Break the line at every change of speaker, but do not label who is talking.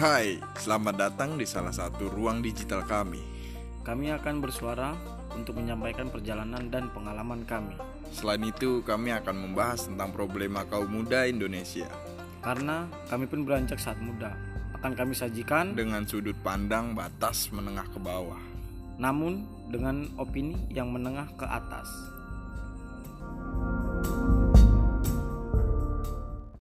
Hai, selamat datang di salah satu ruang digital kami.
Kami akan bersuara untuk menyampaikan perjalanan dan pengalaman kami.
Selain itu, kami akan membahas tentang problema kaum muda Indonesia
Karena kami pun beranjak saat muda. Akan kami sajikan
dengan sudut pandang batas menengah ke bawah.
namun dengan opini yang menengah ke atas.